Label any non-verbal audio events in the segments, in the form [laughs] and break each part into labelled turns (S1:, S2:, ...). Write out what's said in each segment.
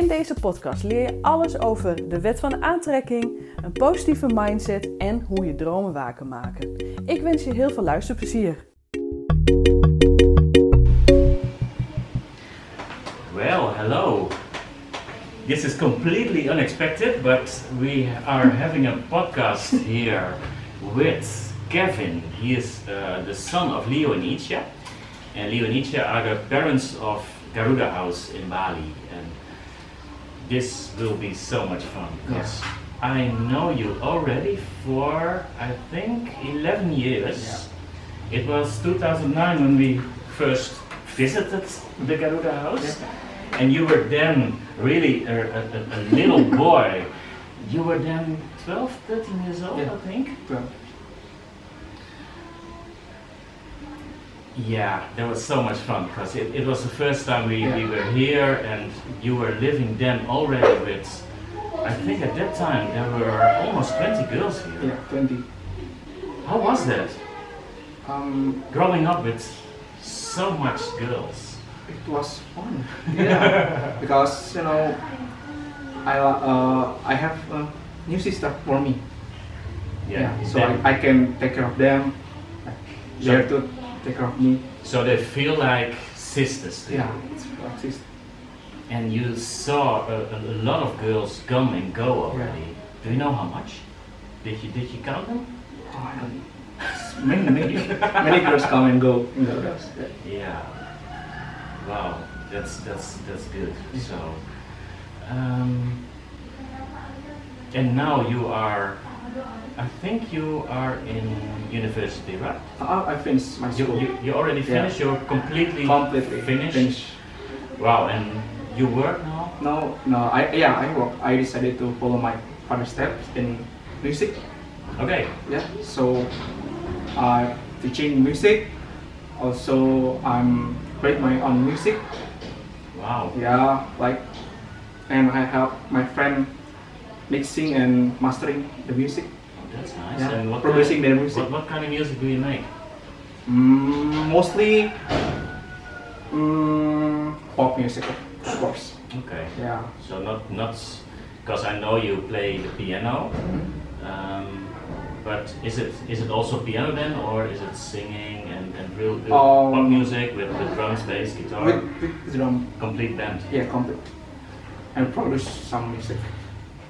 S1: In deze podcast leer je alles over de wet van aantrekking, een positieve mindset en hoe je dromen waar kan maken. Ik wens je heel veel luisterplezier.
S2: Well, hello. This is completely unexpected, but we are having a podcast [laughs] here with Kevin. He is uh, the son of Leo and Icha, and Leo and Icha are the parents of Garuda House in Bali. And this will be so much fun because I know you already for I think 11 years. It was 2009 when we first visited the Garuda House, and you were then really a, a, a- a
S3: [laughs]
S2: little boy. You were then 12, 13 years old,
S3: Yeah.
S2: I think.
S3: Well,
S2: Yeah, that was so much fun because it, it was the first time we, we were here and you were living then already with, I think at that time there were almost 20 girls here.
S3: yeah, 20.
S2: How was that?
S3: Um,
S2: Growing up with so much girls.
S3: it was fun. Yeah, because you know, I uh, I have a new sister for me. so
S2: that-
S3: I, I can take care of them.
S2: So-
S3: They have to take care of me.
S2: so they feel like sisters. to you.
S3: Yeah, it's like this.
S2: And you saw a, a a lot of girls come and go already. Do you know how much? Did you, did you count them?
S3: Oh, I don't. Many, many, many girls come and go. in the house.
S2: Yeah. Wow, that's that's that's good. So, um, and now you are, I think you are in university, right?
S3: Uh, I finished my
S2: You
S3: school
S2: you, you already
S3: Yeah.
S2: finished. You're completely
S3: completely.
S2: finished. Wow, and you work now.
S3: No, no. I yeah, I work. I decided to follow my father's steps in music.
S2: Okay.
S3: Yeah, so I'm teaching music. Also, I'm create my own music.
S2: Wow.
S3: Yeah, like, and I help my friend mixing and mastering the music.
S2: Oh, that's nice.
S3: Yeah.
S2: And what
S3: Producing
S2: kind,
S3: their music.
S2: What, what kind of music do you make?
S3: Mm, mostly mm, pop music, of course.
S2: Okay.
S3: Yeah.
S2: So not not because I know you play the piano.
S3: Mm-hmm.
S2: Um, but is it is it also piano then, or is it singing and, and real, real pop
S3: Um,
S2: music with, with drums, bass, guitar,
S3: With, with drum,
S2: complete band?
S3: yeah, complete. And produce some music.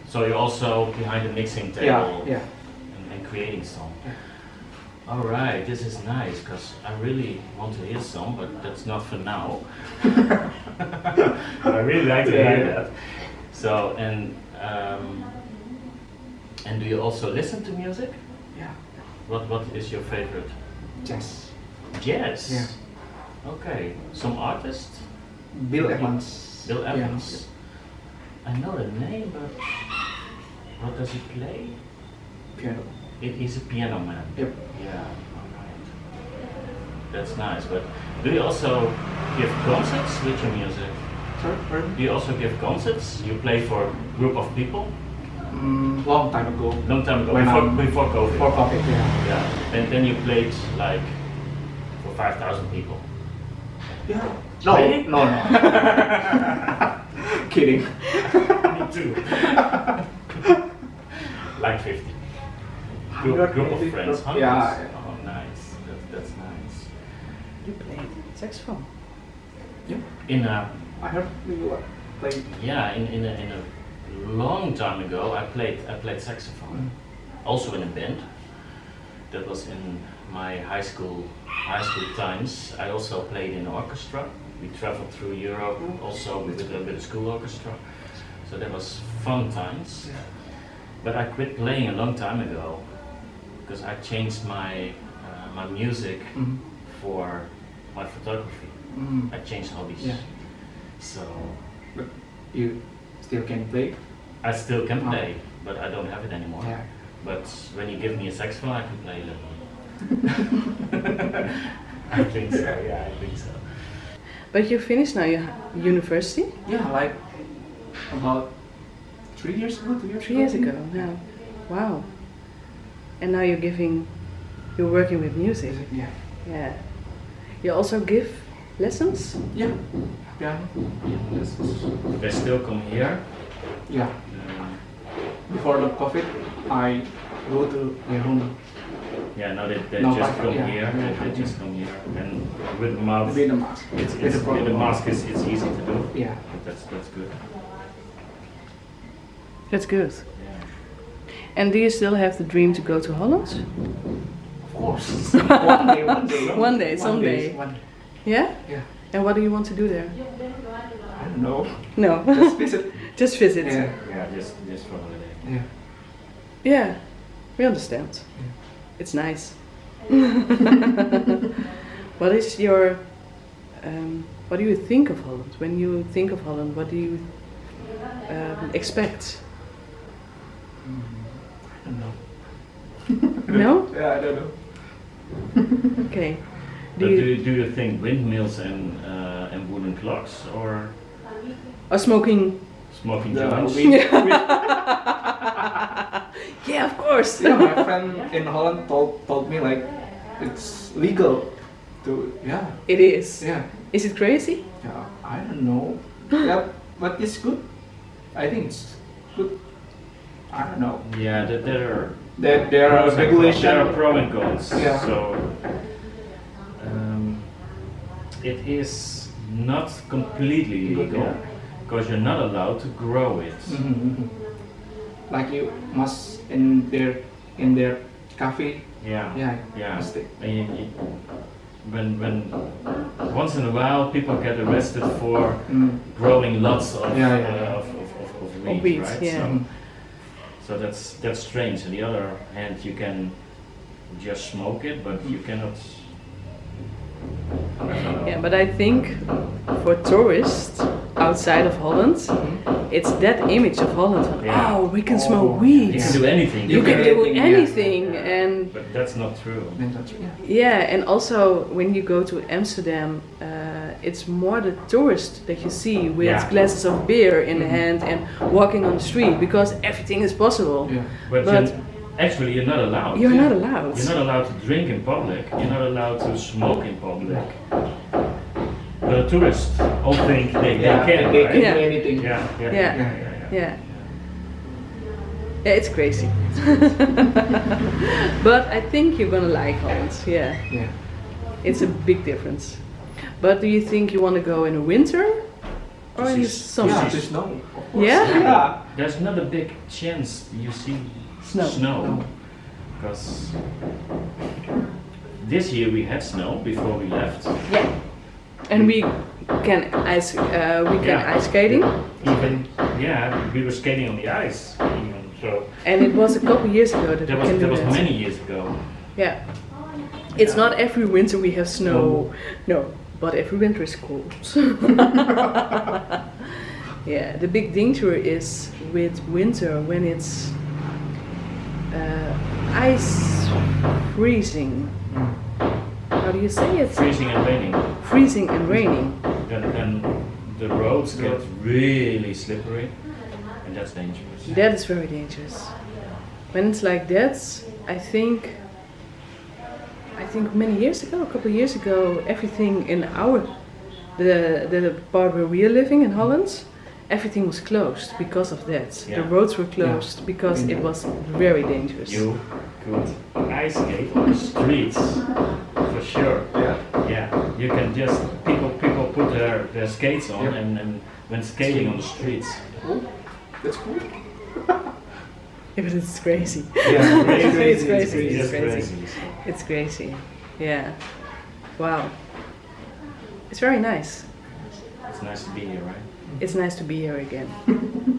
S2: So you're also behind the mixing table
S3: Yeah, yeah.
S2: And, and creating some.
S3: Yeah.
S2: All right, this is nice because I really want to hear some, but that's not for now. [laughs] I really like to hear
S3: Yeah.
S2: that. So and um, and do you also listen to music?
S3: Yeah.
S2: What what is your favorite?
S3: Jazz.
S2: Jazz.
S3: Yeah.
S2: Okay. Some artist,
S3: Bill Evans.
S2: Bill
S3: Yeah.
S2: Evans. I know the name, but what does he play?
S3: Piano.
S2: It, he's a piano man.
S3: Yep.
S2: Yeah. All right. That's nice. But do you also give concerts with your music?
S3: Sorry, pardon?
S2: Do you also give concerts? You play for a group of people?
S3: Mm, long time ago.
S2: Long time ago,
S3: When
S2: before,
S3: I'm-
S2: before COVID.
S3: Before COVID, yeah.
S2: Yeah. And then you played like for five thousand
S3: [laughs]
S2: people.
S3: Yeah. No,
S2: Really?
S3: no, [laughs] no. Kidding.
S2: Me too. [laughs] like 50. Group,
S3: Hundred
S2: group of
S3: maybe,
S2: friends.
S3: group-
S2: Hundreds.
S3: yeah,
S2: Oh, nice. That, that's nice.
S1: Je played saxophone.
S3: Yeah.
S2: In a,
S3: I heard you were playing.
S2: yeah, in, in, a, in a long time ago, I played, I played saxophone. Also in a band. That was in my high school, high school times. I also played in orchestra. We traveled through Europe also with a, with a school orchestra. So that was fun times. But I quit playing a long time ago because I changed my uh, my music
S3: Mm.
S2: for my photography.
S3: Mm.
S2: I changed hobbies.
S3: Yeah.
S2: So
S3: But you still can play.
S2: I still can
S3: Oh.
S2: play, but I don't have it anymore.
S3: Yeah.
S2: But when you give me a saxophone, I can play a little. I think so. Yeah, I think so.
S1: But you finished now your university
S3: Yeah, like about three years ago, two years
S1: three
S3: ago.
S1: years ago
S3: Mm-hmm.
S1: now. Wow. And now you're giving, you're working with music.
S3: Yeah.
S1: Yeah. You also give lessons.
S3: Yeah. Piano. Yeah. Yes.
S2: They still come here.
S3: Yeah.
S2: Um,
S3: Before the COVID, I go to their home.
S2: yeah, now they, they
S3: No,
S2: just
S3: but-
S2: come
S3: yeah,
S2: here.
S3: yeah,
S2: They, they
S3: I
S2: just come here. And with the mouth,
S3: With the mask.
S2: it's,
S3: With
S2: it's,
S3: the
S2: with the
S3: protocol.
S2: mask is it's easy to do.
S3: Yeah.
S2: That's that's good.
S1: That's good.
S2: Yeah.
S1: And do you still have the dream to go to Holland?
S3: Of course. [laughs] one day, one day.
S1: One day, someday.
S3: One day.
S1: Yeah.
S3: Yeah.
S1: And what do you want to do there?
S3: I don't know.
S1: No. [laughs]
S3: Just visit.
S1: Just visit.
S3: Yeah.
S2: Yeah, just just for holiday.
S3: Yeah.
S1: Yeah, we understand.
S3: Yeah.
S1: It's nice. [laughs] what is your, um, what do you think of Holland? When you think of Holland, what do you um, expect?
S3: I don't know.
S1: No?
S3: Yeah, I don't know.
S1: Okay.
S2: Do
S1: Do
S2: you, do,
S1: you
S2: you, do you think windmills and uh, and wooden clocks or
S1: are Oh, smoking?
S2: smoking
S3: No,
S2: joints?
S3: we- we-
S1: Yeah, of course. [laughs]
S3: yeah, my friend in Holland told told me like it's legal to yeah
S1: It is.
S3: yeah
S1: Is it crazy?
S3: yeah I don't know yeah but it's good I think it's good I don't know
S2: Yeah, there, there are
S3: that there are
S2: pros and cons. There are
S3: regulation
S2: pro and cons.
S3: Yeah.
S2: So um, it is not completely
S3: Good,
S2: legal
S3: yeah.
S2: because you're not allowed to grow it.
S3: Mhm, mhm. [laughs] like you must in their in their cafe
S2: Yeah.
S3: yeah
S2: Yeah.
S3: must take-
S2: And you, you, when when once in a while people get arrested for
S3: mm.
S2: growing lots of
S3: Yeah, yeah, yeah.
S2: Uh, of, of, of, of weed,
S1: Of weeds,
S2: right?
S1: yeah.
S2: So,
S3: Mhm.
S2: So that's that's strange. On the other hand, you can just smoke it, but you cannot.
S1: Yeah, but I think for tourists outside of Holland, it's that image of Holland. Van,
S2: Yeah.
S1: Oh, we can
S3: Oh,
S1: smoke
S2: You
S3: yeah.
S1: weed.
S2: can do anything.
S1: You can do
S3: Yeah.
S1: anything, and
S2: But that's not true.
S3: Then that's- yeah.
S1: Yeah, and also when you go to Amsterdam, uh, it's more the tourist that you see with
S2: Yeah.
S1: glasses of beer in
S3: Mhm.
S1: hand and walking on the street because everything is possible.
S3: yeah
S2: But,
S1: But-
S2: you're- actually, you're not allowed.
S1: You're
S3: Yeah.
S1: not allowed.
S2: You're not allowed to drink in public. You're not allowed to smoke in public. But a tourist all think they,
S3: yeah
S2: they can,
S3: they
S2: right?
S3: can
S1: Yeah.
S3: do anything
S2: Yeah, yeah,
S1: Yeah.
S2: yeah, yeah, yeah.
S1: yeah. Yeah, it's crazy. [laughs] but I think you're gonna like Holland. Yeah,
S3: yeah
S1: it's a big difference. But do you think you want to go in the winter or in the
S2: Precies.
S1: summer?
S3: yeah
S2: Precies.
S3: just no of course
S1: Yeah?
S3: yeah.
S2: There's not a big chance you see
S1: Snow.
S3: No.
S2: because this year we had snow before we left.
S1: Yeah. And we can ice uh, we can
S2: Yeah.
S1: ice skating.
S2: Even yeah, we were skating on the ice. Even, so
S1: And it was a couple years ago that we
S2: that was
S1: can do
S2: that was
S1: that.
S2: many years ago.
S1: Yeah. It's
S2: Yeah.
S1: not every winter we have snow. No, but every winter is cold. [laughs] yeah, the big danger is with winter when it's uh, ice freezing.
S3: Mm.
S1: How do you say it?
S2: Freezing and raining.
S1: Freezing and raining.
S2: Then then the roads get really slippery, and that's dangerous.
S1: That is very dangerous. When it's like that, I think, I think many years ago, a couple of years ago, everything in our, the the part where we are living in Holland, everything was closed because of that. The
S2: Yeah.
S1: roads were closed because it was very dangerous. [laughs]
S2: You could ice skate on the streets for sure.
S3: yeah
S2: Yeah, you can just people people put their, their skates on
S3: Yep.
S2: and, and when skating on the streets.
S3: cool that's cool
S1: Yeah, but it's crazy.
S3: Yeah,
S1: [laughs] It's
S3: [laughs] it's
S1: crazy,
S3: crazy.
S1: it's
S2: just
S1: crazy.
S2: crazy. so.
S1: It's crazy. Yeah. Wow. It's very nice.
S2: It's nice to be here, right?
S1: It's nice to be here again.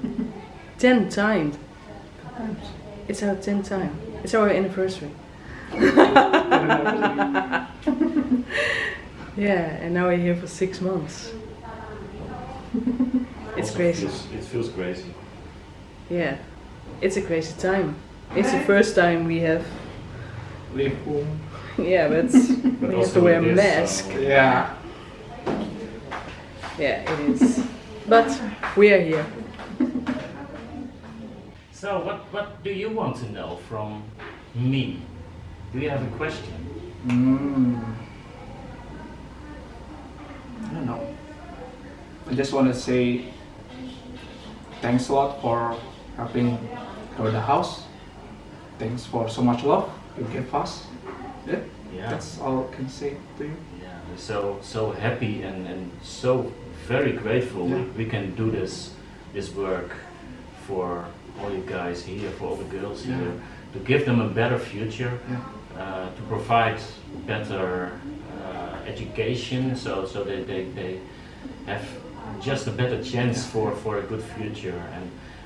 S1: [laughs] ten times. It's our ten time. It's our anniversary. [laughs] yeah, and now we're here for six months. It's
S2: Also
S1: crazy.
S2: feels- it feels crazy.
S1: Yeah, it's a crazy time. It's the first time we have. [laughs]
S3: Leave home.
S1: Yeah, but we
S2: But
S1: have
S2: also
S1: to
S2: uh,
S1: wear a
S2: with this,
S1: mask.
S2: so-
S3: Yeah.
S1: Yeah, it is. But we are here.
S2: So what what do you want to know from me? Do you have a question?
S3: Mm. I don't know. I just want to say thanks a lot for helping her the house. Thanks for so much love you gave us. Yeah,
S2: Yeah.
S3: That's all I can say to you.
S2: Yeah. We're so so happy and, and so very grateful
S3: Yeah.
S2: we can do this this work for all you guys here, for all the girls
S3: Yeah.
S2: here, to give them a better future,
S3: Yeah.
S2: uh, to provide better uh, education, so so they, they they have just a better chance for for a good future. And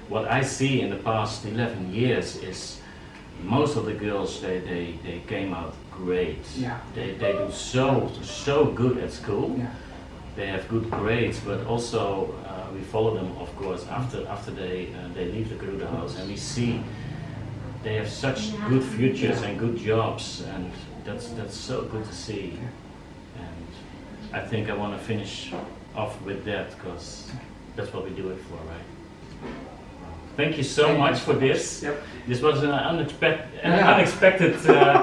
S2: what I see in the past 11 years is most of the girls they they, they came out great.
S3: Yeah.
S2: They they do so so good at school
S3: Yeah.
S2: they have good grades, but also uh, we follow them, of course, after after they uh, they leave the Garuda house, and we see they have such good futures and good jobs, and that's that's so good to see. And I think I want to finish off with that because that's what we do it for, right? Thank you so
S3: Thank you
S2: much
S3: so
S2: for this.
S3: Yep.
S2: This was an unexpected, an
S3: Yeah.
S2: unexpected uh,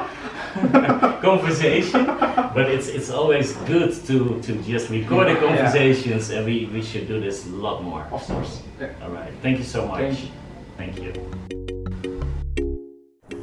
S2: [laughs] conversation, but it's it's always good to to just record the
S3: Yeah.
S2: conversations, and we we should do this a lot more.
S3: Of course. Yeah.
S2: All right. Thank you so much.
S3: Thank you.
S2: Thank you.